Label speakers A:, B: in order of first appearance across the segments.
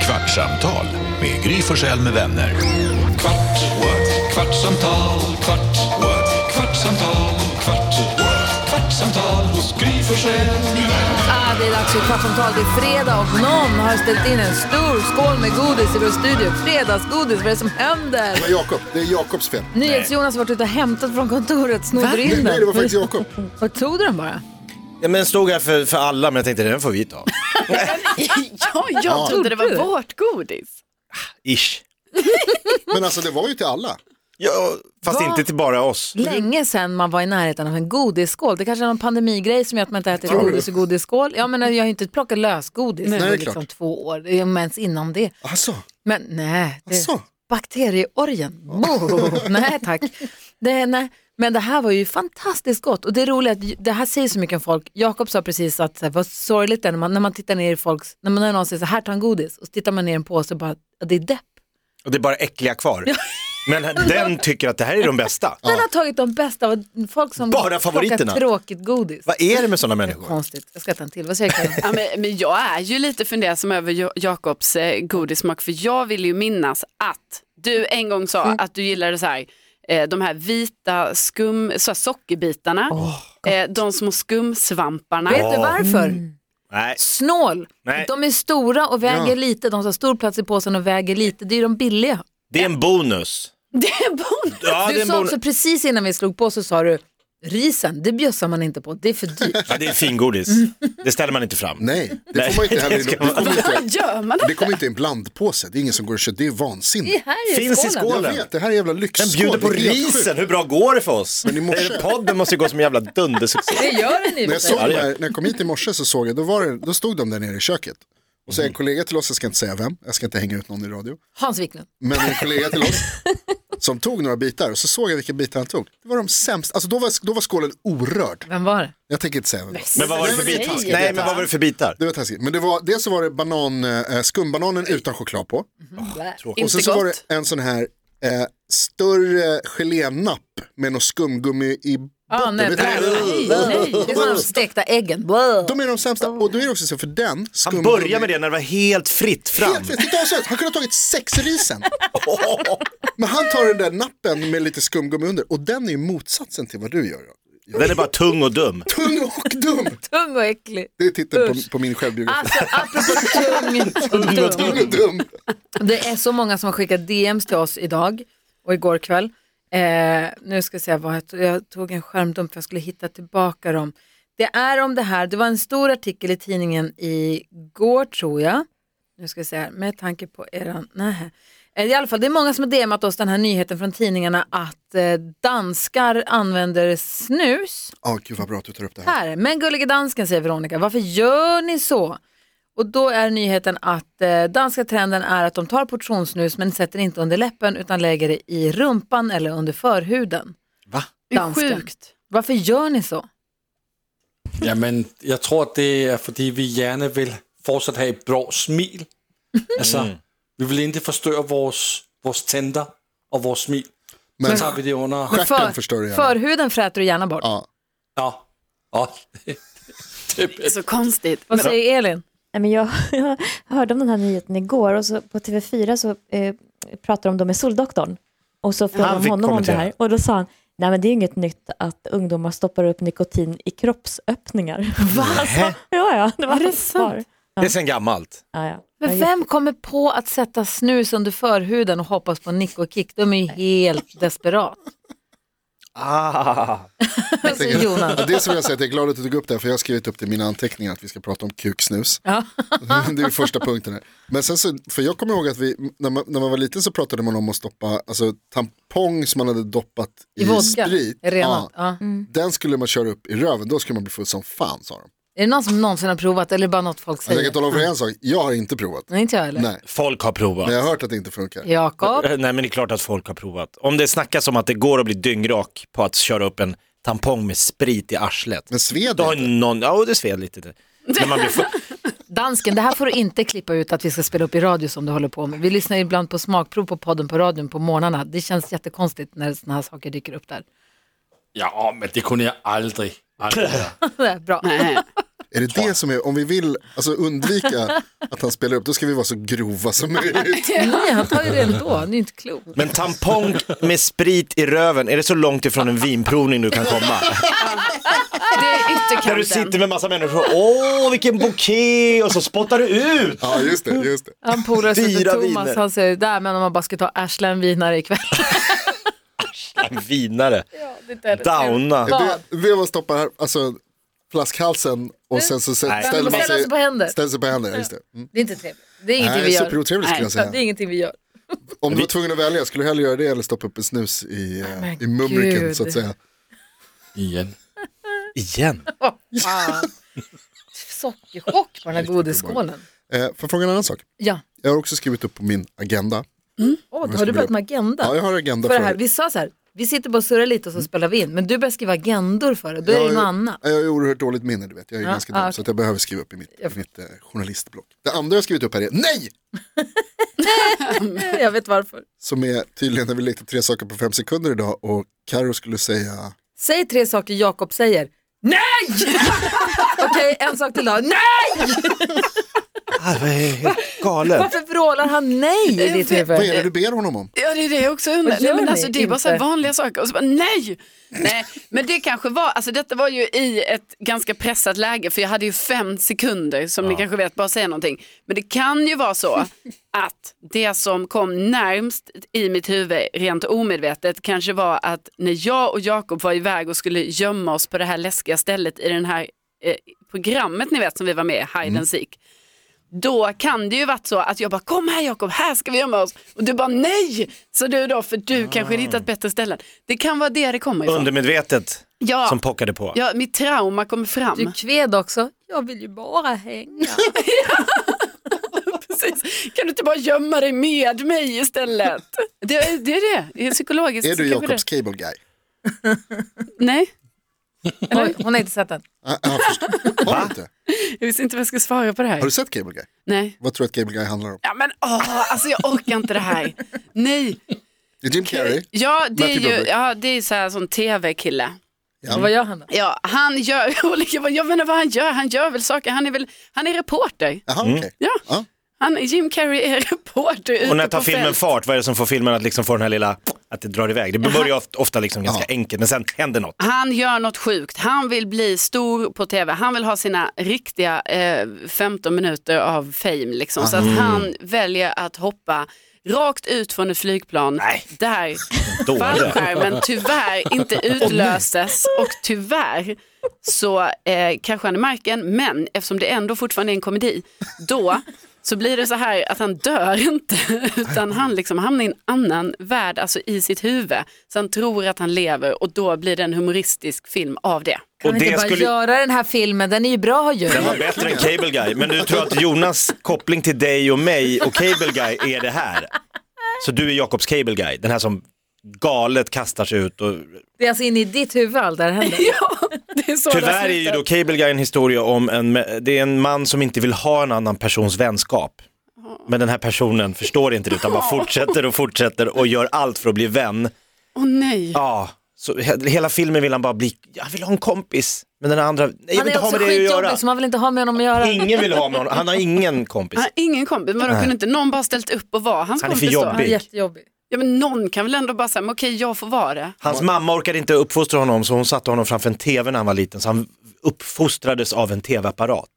A: Kvartsamtal med Gry Forssell med vänner.
B: Kvart, what? kvartsamtal, kvart, what? kvartsamtal, kvart, what? kvartsamtal hos Gry Forssell med vänner.
C: Ah, det är dags för Kvartsamtal. Det är fredag och någon har ställt in en stor skål med godis i vår studio. Fredagsgodis, vad är det som händer?
D: Det var Jakob. Det är Jakobs fel.
C: NyhetsJonas har varit ute och hämtat från kontoret, snodde in den.
D: Nej, det var faktiskt Jakob.
C: Vad tog du den bara?
E: Ja, men stod här för, för alla, men jag tänkte den får vi ta.
F: Ja, jag trodde det var vårt godis.
E: Ish.
D: Men alltså det var ju till alla.
E: Ja, fast
C: Va?
E: inte till bara oss.
C: Länge sedan man var i närheten av en godisskål. Det kanske är någon pandemigrej som gör att man inte äter godis i godisskål. Ja, men jag har ju inte plockat lösgodis
D: det är
C: under
D: klart.
C: liksom två år, Det är om ens innan det.
D: Alltså,
C: Men nej, det
D: Asså?
C: bakterieorgen. Mo. nej tack. Det, nej. Men det här var ju fantastiskt gott och det är roligt att det här säger så mycket om folk. Jakob sa precis att så här, vad sorgligt det är när man, när man tittar ner i folks, när, man, när någon säger så här, ta en godis och så tittar man ner i en påse och bara, ja, det är depp.
E: Och det är bara äckliga kvar. Men den tycker att det här är de bästa.
C: Den har tagit de bästa av folk som
E: Bara
C: plockar
E: favoriterna.
C: tråkigt godis.
E: Vad är det med sådana människor?
C: Konstigt, jag ska ta en till. Vad säger Karin?
F: Ja, men, men jag är ju lite fundersam över Jo- Jakobs eh, godissmak för jag vill ju minnas att du en gång sa att du gillade så här, eh, de här vita skum, så här sockerbitarna, eh, de små skumsvamparna.
C: Vet du varför?
D: Mm.
E: Nej,
C: Snål.
E: Nej.
C: De är stora och väger
D: Ja.
C: lite, de har stor plats i påsen och väger lite. Det är ju de billiga.
E: det är en bonus.
F: Det är bon.
E: Ja, det är
C: du
E: en
C: sa
E: bonus.
C: också precis innan vi slog på så sa du risen, det bjussar man inte på, det är för dyrt.
E: Ja, det är fingodis.
C: Mm.
E: Det ställer man inte fram.
D: nej, det
E: Nej,
D: får man inte
E: det
D: heller.
E: ska
D: Det
E: man-
D: kommer inte,
F: Vad gör man? då?
D: det kommer inte i en blandpåse. Det är ingen som går och köper. Det är vansinne.
C: Det här är
E: Finns i
C: skålen.
E: skål.
D: Jag
E: Skålen.
D: vet, det här är jävla lyxskål.
E: Den bjuder på
D: Det är helt sjukt.
E: risen, hur bra går det för oss?
D: i morse-
E: Eh, Podden måste ju gå som en jävla dundersuccé.
C: Det gör den i och
D: När
C: för
D: jag, såg,
C: sig.
E: Ja, det är-
D: när, när jag kom hit i morse så såg jag, då, var det, då stod de där nere i köket. Och så
E: Mhm.
D: en kollega till oss, jag ska inte säga vem, jag ska inte hänga ut någon i radio.
C: Hans Wiklund.
D: Men en kollega till oss som tog några bitar och så såg jag vilka bitar han tog. Det var de sämsta, alltså då var, då var skålen orörd.
C: Vem var det?
D: Jag tänker inte säga vem det var.
E: Men vad var det för
D: Nej, men det är
E: bitar?
D: taskigt.
E: Nej, men vad var det för bitar?
D: Det var taskigt. Men det var, dels så var det banan, eh, skumbananen utan choklad på. Och
F: Inte
D: sen så var
F: gott.
D: det en sån här eh, större gelénapp med något skumgummi i botten.
C: Ah, nej,
D: Vet ni
C: nej,
D: vad det är?
C: Det är som de stekta äggen. Wow.
D: De är de sämsta. Och då är det också så för den
E: Han
D: skumgummi.
E: börjar med det när det var helt fritt fram.
D: Helt rätt. Titta, alltså, Han kunde ha tagit sexrisen. Men han tar den där nappen med lite skumgummi under och den är ju motsatsen till vad du gör.
E: Den är bara tung och dum.
D: Tung och dum.
C: Tung och äcklig.
D: Det är titeln på, på min självbiografi.
C: Alltså apropå Ah, tung och dum.
D: Tung och dum.
C: Det är så många som har skickat DMs till oss idag och igår kväll. Eh, nu ska jag säga vad jag tog. Jag tog en skärmdump för jag skulle hitta tillbaka dem. Det är om det här. Det var en stor artikel i tidningen igår tror jag. Nu ska jag säga här, med tanke på eran... Nej. Eh, I alla fall, det är många som har DMat oss den här nyheten från tidningarna att eh, danskar använder snus.
D: Ja, gud vad bra att du tar upp det här.
C: Här, men gullige dansken säger Veronica, varför gör ni så? Och då är nyheten att eh, danska trenden är att de tar portionssnus men sätter inte under läppen utan lägger det i rumpan eller under förhuden.
E: Va?
F: Det är
C: Dansken.
F: sjukt.
C: Varför gör ni så?
G: Ja, men jag tror att det är fordi vi gärna vill fortsätta ha ett bra smil. Alltså, vi vill inte förstöra vores, vores tänder och vårt smil.
D: Men-
G: Men tar vi det under...
D: Stjärten förstör du gärna.
C: Förhuden fräter du gärna bort.
D: Ja.
G: Ja. ja.
F: Det är så konstigt.
C: Vad säger Elin?
H: Nej, men jag, jag hörde om den här nyheten igår och så på TV4 så eh, pratade de då med Soldoktorn och så
E: Han
H: frågade de
E: fick
H: honom om det
E: kommentera.
H: här och då sa han Nej men det är ju inget nytt att ungdomar stoppar upp nikotin i kroppsöppningar. Va?
E: Nähä.
H: Ja, ja, det var
C: det
H: hans svar.
C: sant?
E: Det är sen gammalt.
H: Ja, ja.
C: Men
H: Ja,
C: vem kommer på att sätta snus under förhuden och hoppas på nick och kick? De är ju helt desperat.
E: Ah.
C: Vad säger Alltså, Jonas?
D: Ja, det som jag säger, att jag är glad att du tog upp det här, för jag har skrivit upp det i mina anteckningar att vi ska prata om kuksnus.
C: Ja.
D: det är första punkten här. Men sen så, för jag kommer ihåg att vi, när man, när man var liten så pratade man om att stoppa, alltså tampong som man hade doppat i,
C: I Mm. vodka?
D: sprit.
C: Renat, ja.
D: Den skulle man köra upp i röven, då skulle man bli full som fan sa de.
C: Är det någon som någonsin har provat eller bara något folk
D: Alltså, jag
C: säger?
D: kan tala om för en sak, jag har inte provat.
C: Nej, inte jag heller.
D: Nej,
E: Folk har provat.
D: men jag har hört att det inte funkar.
C: Jakob?
E: Eh, Nej men det är klart att folk har provat. Om det snackas om att det går att bli dyngrak på att köra upp en tampong med sprit i arslet.
D: Men sved
E: Då har
D: inte.
E: någon, ja det sved lite. Det. När man blir full.
C: Dansken, det här får du inte klippa ut att vi ska spela upp i radio som du håller på med. Vi lyssnar ibland på smakprov på podden på radion på morgnarna. Det känns jättekonstigt när sådana här saker dyker upp där.
G: ja, men det kunde jag aldrig. aldrig göra.
C: Bra.
F: Nej.
D: Är det det som är, om vi vill alltså, undvika att han spelar upp, då ska vi vara så grova som möjligt.
C: Nej, han tar ju det ändå, han är ju inte klok.
E: Men tampong med sprit i röven, är det så långt ifrån en vinprovning du kan komma?
F: Det är
E: Där du
F: ytterkanten.
E: sitter med massa människor, åh vilken bouquet och så spottar du ut.
D: Ja, just det. Just det.
C: Han polare som heter
E: Dyra
C: Thomas,
E: viner.
C: han säger där men om man bara ska ta Ashland vinare ikväll.
E: En vinare,
C: Mm.
E: downa.
D: Det, det var stoppa här, alltså flaskhalsen och sen så se-
E: Nej.
C: Ställa
D: ställer man
C: sig på händer.
D: sig, ställer sig på händer. ja, Just det. Mm.
C: Det är inte trevligt. Det är ingenting vi
D: Nej,
C: gör.
D: superotrevligt skulle jag
C: Ja, Det är
D: säga.
C: ingenting vi gör.
D: Om du var tvungen att välja, skulle du hellre göra det eller stoppa upp en snus i, eh,
C: men
D: i mumriken
C: gud.
D: så att säga?
G: Igen.
E: Igen.
C: Fan. Sockerchock på den här godisskålen.
D: Eh, får jag fråga en annan sak?
C: Ja.
D: Jag har också skrivit upp på min agenda.
C: Åh, då har du börjat med agenda.
D: Ja, jag har agenda
C: för det
D: för
C: här.
D: det.
C: Vi sa så här, vi sitter bara och surrar lite
E: Mm.
C: och så spelar vi in. Men du börjar skriva agendor för det, då är
D: jag
C: det
D: har
C: något
D: ju-
C: annat.
D: Jag har ju oerhört dåligt minne, du vet. Jag är ju
C: Ja,
D: ganska
C: ah,
D: dum, så att jag behöver skriva upp i mitt, i mitt eh, journalistblock. Det andra jag har skrivit upp här är nej!
C: Jag vet varför.
D: Som är tydligen när vi lekte tre saker på fem sekunder idag och Karo skulle säga
C: Säg tre saker Jakob säger. Nej! Okej, en sak till då. Nej!
E: Ah, vad är helt galet.
C: Varför vrålar han nej i ditt huvud?
D: vad är det du ber honom om?
F: Ja det är det jag också undrar.
C: Vad gör
F: Nej, men
C: ni?
F: alltså, det är bara så här
C: Inte.
F: vanliga saker och så bara nej. nej. Men det kanske var, alltså detta var ju i ett ganska pressat läge för jag hade ju fem sekunder som ni kanske vet bara säga någonting. Men det kan ju vara så att det som kom närmst i mitt huvud rent omedvetet kanske var att när jag och Jakob var iväg och skulle gömma oss på det här läskiga stället i den här eh, programmet ni vet som vi var med i,
C: Mm.
F: Hide and Seek då kan det ju varit så att jag bara kom här Jakob, här ska vi gömma oss. Och du bara nej, så du då för du kanske hade hittat bättre ställen. Det kan vara det det kommer ifrån.
E: Undermedvetet
F: ja,
E: som pockade på.
F: ja, mitt trauma kommer fram.
C: Du kved också. Jag vill ju bara hänga.
F: Precis. Kan du inte bara gömma dig med mig istället? Det, är- det är det, det är psykologiskt.
D: Är du
F: kanske
D: Jakobs cable guy?
F: det. Nej,
C: Oj, hon har inte sett den.
D: Ah, ah, först- har, du inte?
F: jag visste inte vad jag skulle svara på det
D: har
F: här.
D: du sett cable guy?
F: Nej.
D: Vad tror du att cable guy handlar om?
F: Ja men åh, alltså jag orkar inte det här. Nej,
D: Det är Jim Carrey.
F: ja det är
D: Matthew
F: ju
D: Broderick.
F: ja, det är så här som tv-kille.
D: Ja.
C: Och vad gör han då?
F: Ja, han gör olika, vad- jag menar vad han gör, han gör väl saker, han är väl, han är reporter.
D: Jaha,
E: Mm.
D: okej.
F: Ja,
D: Ja.
F: han, Jim Carrey är reporter ute
E: Och när
F: på
E: tar filmen
F: fält.
E: fart, vad är det som får filmen att liksom få den här lilla, att det drar iväg? Det börjar ofta, ofta liksom ganska enkelt, men sen händer något.
F: Han gör något sjukt, han vill bli stor på tv, han vill ha sina riktiga eh, 15 minuter av fame liksom. Så att han väljer att hoppa rakt ut från ett flygplan
E: Nej.
F: där
E: Dåre.
F: fallskärmen tyvärr inte utlöses och tyvärr så eh, kraschar han i marken men eftersom det ändå fortfarande är en komedi då så blir det så här att han dör inte utan han liksom hamnar i en annan värld, alltså i sitt huvud. Så han tror att han lever och då blir det en humoristisk film av det.
E: Och
C: Kan vi inte
E: det
C: bara
E: skulle
C: göra den här filmen? Den är ju bra ju.
E: den var bättre än Cable Guy, men du tror att Jonas koppling till dig och mig och Cable Guy är det här. Så du är Jakobs Cable Guy, den här som galet kastar sig ut och
C: Det är alltså in i ditt huvud allt det här händer.
F: Det är så det
E: Tyvärr är ju
F: slutar.
E: då Cable Guy en historia om en, det är en man som inte vill ha en annan persons vänskap. Men den här personen förstår inte det utan bara fortsätter och fortsätter och gör allt för att bli vän.
F: Åh nej.
E: Ja, så he- hela filmen vill han bara bli, jag vill ha en kompis. Men den andra, nej jag
C: Han
E: vill
C: är
E: inte ha
C: också
E: med det att göra.
C: skitjobbig så man vill inte ha med honom att göra.
E: Ingen vill ha med honom, han har ingen kompis.
F: Han har ingen kompis, men då kunde inte någon bara ställt upp och vara hans
E: Han är för
F: kompis då?
E: jobbig.
C: Han är jättejobbig.
F: Ja, men någon kan väl ändå bara säga, men okej jag får vara det.
E: Hans mamma orkade inte uppfostra honom så hon satte honom framför en tv när han var liten så han uppfostrades av en tv-apparat.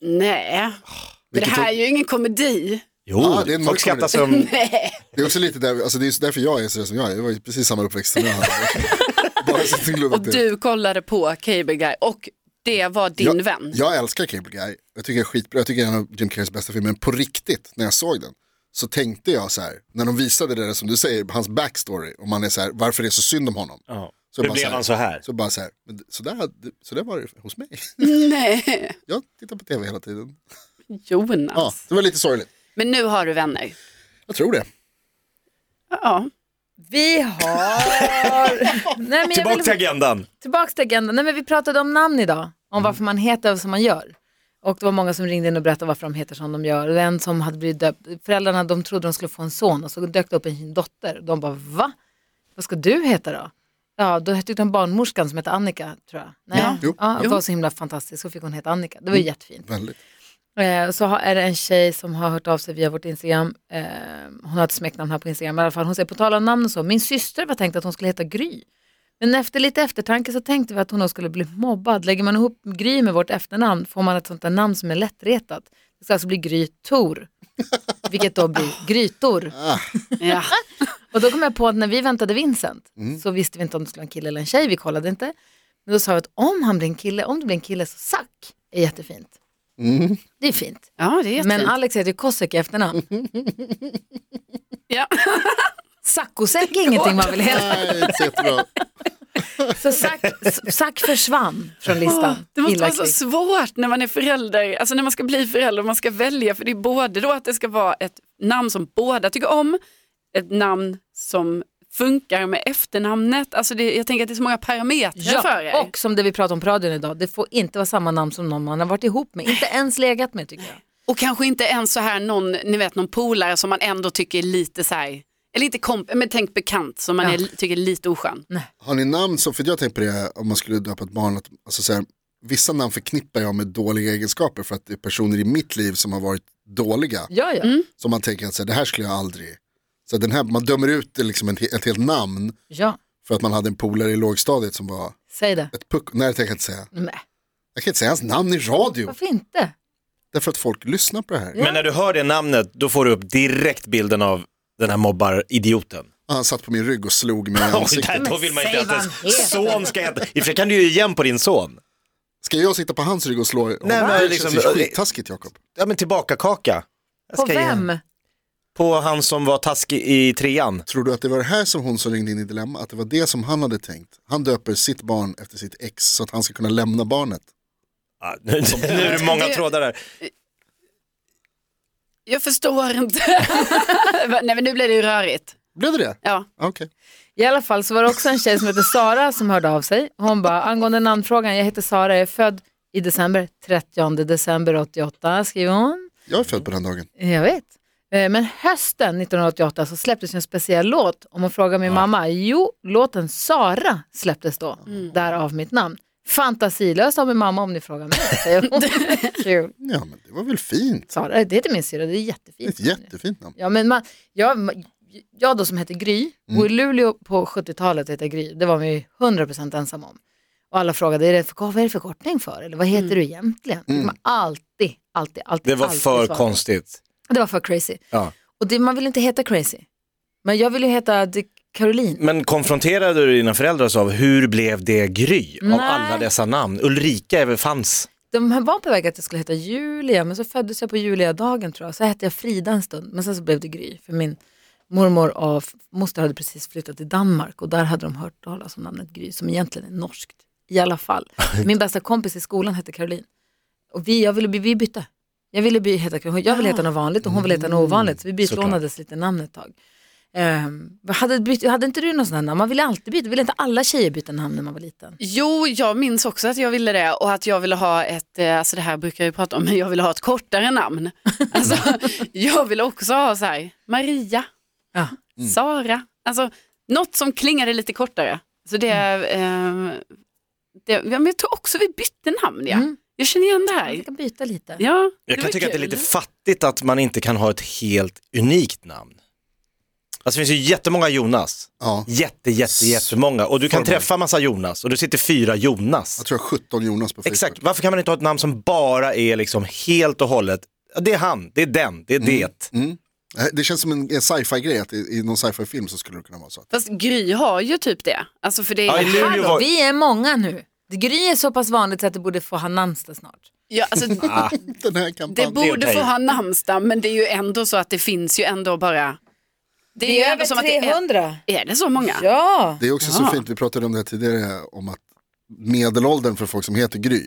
F: Nej, men det
D: Vilket
F: här är ju ingen komedi.
E: Jo,
D: Ja, Ah, det är en
E: folk
D: mörk
E: skrattar
D: komedi.
E: sig om
D: Det är också lite där, alltså det är därför jag är sådär som jag är. Jag var ju precis samma uppväxt som jag hade. Bara så att du glömmer
F: Och
D: inte.
F: du kollade på Cable Guy och det var din
D: jag,
F: vän.
D: Jag älskar Cable Guy. Jag tycker det är skitbra. Jag tycker det är en av Jim Carreys bästa filmer. Men på riktigt, när jag såg den, så tänkte jag så här, när de visade det där som du säger, hans backstory, och man är så här, varför det är så synd om honom.
E: Ja.
D: Så
E: Hur
D: bara
E: blev han så här?
D: Så bara så här, men så där, hade- så där var det hos mig.
F: Nej, Alltså.
D: Jag tittar på tv hela tiden.
F: Jonas.
D: Ja, det var lite sorgligt.
F: Men nu har du vänner.
D: Jag tror det.
F: Ja.
C: Vi har... Nej, men jag
E: Tillbaka
C: vill...
E: till agendan.
C: Tillbaka till agendan. Nej, men vi pratade om namn idag, om varför man heter som man gör. Och det var många som ringde in och berättade varför de heter som de gör. Och en som hade blivit döpt, föräldrarna de trodde de skulle få en son och så dök det upp en dotter. De bara va? Vad ska du heta då? Ja, då tyckte hon barnmorskan som hette Annika, tror jag. Nej.
F: Ja.
D: Jo. Mm.
C: Ja, hon var så himla fantastisk, så fick hon heta Annika. Det var ju jättefint.
D: Väldigt.
C: Eh, så har- är det en tjej som har hört av sig via vårt Instagram. Eh, hon har ett smeknamn här på Instagram i alla fall. Hon säger på tal om namn och så, min syster var tänkt att hon skulle heta Gry. Men efter lite eftertanke så tänkte vi att hon nog skulle bli mobbad. Lägger man ihop Gry med vårt efternamn får man ett sånt där namn som är lättretat. Det ska alltså bli Gry Tor. Vilket då blir Grytor.
F: Ja.
C: Och då kom jag på att när vi väntade Vincent så visste vi inte om det skulle vara en kille eller en tjej, vi kollade inte. Men då sa vi att om han blir en kille, om det blir en kille så Zack är jättefint. Det är fint.
F: ja, det är jättefint.
C: Men Alex heter ju Kosek i efternamn.
F: Mm. ja.
C: Sackosek är ingenting man vill heta.
D: Nej, inte så jättebra.
C: Så Zack, Zack försvann från listan.
F: Ah, Det måste
C: Illa
F: vara så
C: kvickt.
F: svårt när man är förälder, alltså när man ska bli förälder och man ska välja, för det är både då att det ska vara ett namn som båda tycker om, ett namn som funkar med efternamnet, alltså det, jag tänker att det är så många parametrar för er.
C: Ja, och som det vi pratar om på radion idag, det får inte vara samma namn som någon man har varit ihop med, inte ens legat med tycker jag.
F: Och kanske inte ens så här någon, ni vet någon polare som man ändå tycker är lite så här, eller inte komp, men tänk bekant som man
C: Ja.
F: är, tycker är lite oskön.
D: Har ni namn som, för jag tänker på det om man skulle döpa ett barn, att, alltså så här, vissa namn förknippar jag med dåliga egenskaper för att det är personer i mitt liv som har varit dåliga.
C: Ja, ja.
F: Mm.
D: Som man tänker att så här, det här skulle jag aldrig, så den här, man dömer ut liksom ett, ett helt namn
C: ja.
D: för att man hade en polare i lågstadiet som var
C: Säg det.
D: ett puck, nej det tänker jag inte säga.
C: Nej.
D: Jag kan inte säga hans namn i radio,
C: Varför inte?
D: därför att folk lyssnar på det här.
E: Men när du hör det namnet, då får du upp direkt bilden av den här mobbaridioten.
D: Han satt på min rygg och slog mig i
E: Och
D: ansiktet.
E: där, då vill man
C: Men
E: inte
C: säg vad
E: att
C: han heter.
E: ens son ska heta. I och för sig kan du ju igen på din son.
D: Ska jag sitta på hans rygg och slå?
E: Nej, men
D: det
E: liksom-
D: känns ju skittaskigt Jakob.
E: Ja men tillbaka kaka. Jag
C: På
E: ska ge-
C: vem?
E: På han som var taskig i trean.
D: Tror du att det var det här som hon som ringde in i Dilemma, att det var det som han hade tänkt? Han döper sitt barn efter sitt ex så att han ska kunna lämna barnet.
E: Ja, Ah, nu, nu är det många trådar där.
F: Jag förstår inte. Nej men nu blir det ju rörigt.
D: Blev det det?
F: Ja.
D: Ah, Okej.
C: I alla fall så var det också en tjej som heter Sara som hörde av sig. Hon bara, angående namnfrågan, jag heter Sara, jag är född i december, 30 december 88 skriver hon.
D: Jag är född på den dagen.
C: Jag vet. Eh, Men hösten 1988 så släpptes ju en speciell låt. Om man frågar min mamma, jo, låten Sara släpptes då,
E: Mm.
C: därav mitt namn. Fantasilöst av min mamma om ni frågar mig, säger hon. Kul.
D: Ja, men det var väl fint.
C: Sara, det heter min syrra, det är
D: Det är ett
C: jättefint.
D: jättefint namn.
C: Ja, men man, jag, jag då som hette Gry, och i
E: Mm.
C: Luleå på 70-talet hette jag Gry, det var man ju 100% ensam om. Och alla frågade, är det för, vad är det förkortning för? Eller vad heter du egentligen? Man alltid, alltid, alltid.
E: Mm. Det var
C: alltid
E: för
C: svarade.
E: konstigt.
C: Det var för crazy.
E: Ja.
C: Och det, man vill inte heta crazy. Men jag vill ju heta The Caroline.
E: Men konfronterade du dina föräldrar så av hur blev det Gry av
C: Nej.
E: alla dessa namn? Ulrika även fanns.
C: De här var på väg att jag skulle heta Julia, men så föddes jag på Julia-dagen tror jag. Så hette jag Frida en stund, men sen så blev det Gry. För min mormor och f- moster hade precis flyttat till Danmark och där hade de hört talas om namnet Gry, som egentligen är norskt. I alla fall. Min bästa kompis i skolan hette Caroline. Och vi, jag ville bli, vi bytte. Jag ville bli, heta, jag ville heta något vanligt och hon ville heta något ovanligt, så vi bytlånades lite namn ett tag. Ehm, vad hade, bytt, hade inte du någon sån här namn? Man ville alltid byta, ville inte alla tjejer byta namn när man var liten?
F: Jo, jag minns också att jag ville det och att jag ville ha ett, eh, alltså det här brukar jag ju prata om, men jag ville ha ett kortare namn. Alltså, jag ville också ha så här, Maria,
C: Ja.
F: Sara, alltså något som klingade lite kortare. Så det, eh, det ja, men jag tror också vi bytte namn, ja. Jag känner igen det
C: Man
F: här.
C: kan byta lite.
F: Ja,
E: Jag
F: var
E: kan tycka att det är
F: kul.
E: lite fattigt att man inte kan ha ett helt unikt namn. Alltså det finns ju jättemånga Jonas.
D: Ja.
E: Jätte, jätte, jättemånga. Och du kan
D: Formel.
E: träffa massa Jonas och du sitter fyra Jonas.
D: Jag tror jag har 17 Jonas på Facebook.
E: Exakt, varför kan man inte ha ett namn som bara är liksom helt och hållet, ja, det är han, det är den, det är det.
D: Eh, Det känns som en, en sci-fi grej, att i, i någon sci-fi film så skulle det kunna vara så.
F: Fast Gry har ju typ det. Alltså för det
E: Ja, i
F: är,
E: Luleå var...
C: Vi är många nu. Det Gry är så pass vanligt så att det borde få ha namnsdag snart.
F: ja,
E: Ah,
F: alltså,
D: Den här
F: det
D: kampanjen.
F: borde
E: okej.
F: få ha namnsdag, men det är ju ändå så att det finns ju ändå bara... Det är, ju ändå som att det är Är det så många?
C: Ja.
D: Det är också så fint, vi pratade om det här tidigare, om att medelåldern för folk som heter Gry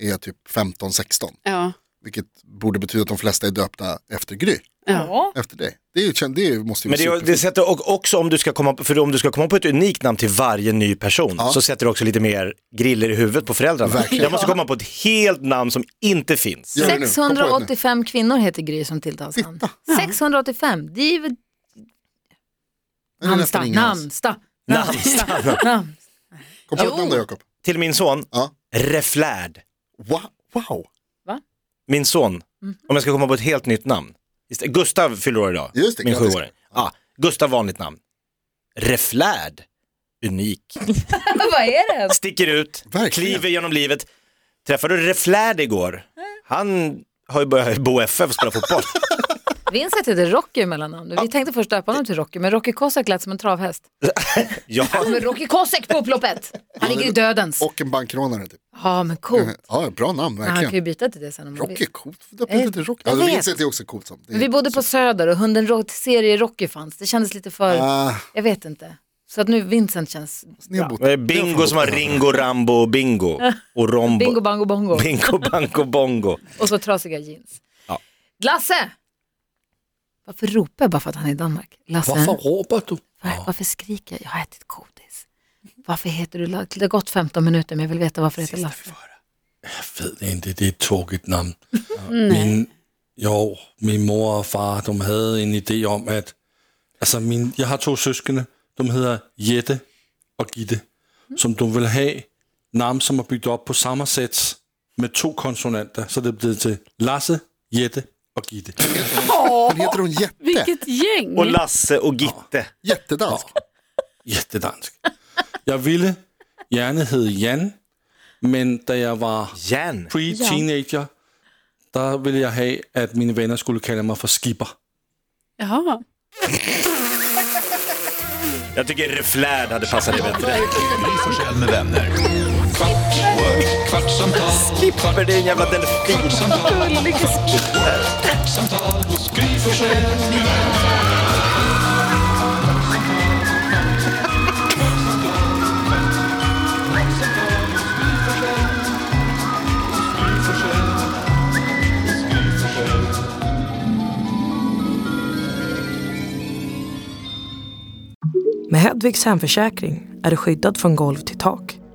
D: är typ 15-16.
F: Ja.
D: Vilket borde betyda att de flesta är döpta efter Gry,
C: ja.
D: efter dig. Det, är, ju- kän- det är ju- måste ju
E: Men det,
D: vara
E: är- det
D: superfint.
E: sätter o- också om du ska komma, för om du ska komma på ett unikt namn till varje ny person så sätter det också lite mer griller i huvudet på föräldrarna.
D: Verkligen.
E: Jag måste komma på ett helt namn som inte finns.
D: Gör det nu, kom på det nu.
C: 685 kvinnor heter Gry som tilltalsnamn. 685, det är väl
D: Det är nästan
C: namnsdag.
D: inga alls.
C: Namnsdag. Namnsdag.
D: Kom på
F: Jo.
D: ett namn då Jakob.
E: Till min son,
D: Ja.
E: Reflärd.
D: Wow. wow.
E: Min son,
D: Mhm.
E: om jag ska komma på ett helt nytt namn. Ist- Gustav fyller år idag,
D: Just det,
E: min
D: grattis.
E: sjuåring. Ja, Gustav vanligt namn. Reflärd, unik.
C: Vad är det?
E: sticker ut,
D: Verkligen.
E: kliver genom livet. Träffade Reflärd igår. Han har ju börjat bo FF och spela fotboll.
C: Vincent heter Rocky i mellannamn. Vi tänkte först döpa honom till Rocky, men Rocky Kosek lät som en travhäst.
E: Ja,
C: Men Rocky Kosek på upploppet! Han ligger i dödens.
D: Och en bankrånare typ.
C: Ja, men coolt.
D: Ja, bra namn
C: Ja, Han kan ju
D: verkligen.
C: byta till det sen om han
D: Rocky är
C: vill.
D: coolt. Det är lite Rocky.
C: jag
D: Alltså,
C: vet.
D: Vincent är också coolt. Som. Det är
C: Men vi bodde på Söder och hunden Rocky, serie Rocky fanns. Det kändes lite för,
D: Ah,
C: jag vet inte. Så att nu Vincent känns,
D: ni har bott.
E: det är Bingo som har Ringo, Rambo och Bingo. Och Rombo.
C: bingo bango bongo.
E: Bingo, Bango, Bongo.
C: Och så trasiga jeans. Lasse! Varför ropar jag bara för att han är i Danmark? Lasse,
G: Varför råber du?
C: var, varför skriker jag? Jag har ätit godis. Varför heter du Lasse? Det har gått 15 minuter men jag vill veta varför heter Lasse.
G: Jag vet inte, det är ett tråkigt namn. min, jo, min mor och far, de hade en idé om att, alltså min, jag har två syskon, de heter Jette och Gitte, som de vill ha namn som har byggt upp på samma sätt med två konsonanter, så det blir till Lasse, Jette och Gitte.
D: Men heter hon Jätte?
F: Vilket gäng.
C: Mm.
E: Och Lasse och Gitte.
D: Jättedansk.
G: Jättedansk. Jag ville gärna heta Jan, men när jag var
E: Jan.
G: pre-teenager, der ville jeg have, at mine venner skulle kalde mig for skipper.
F: Jaha.
E: Jag tycker Reflärd hade passat dig bättre.
A: Gry Forssell med vänner.
B: kvart, what? kvartsamtal,
E: Skipper, det är en jävla delfin.
B: kvartsamtal, kvartsamtal hos Gry Forssell med vänner.
I: Med Hedvigs hemförsäkring är du skyddad från golv till tak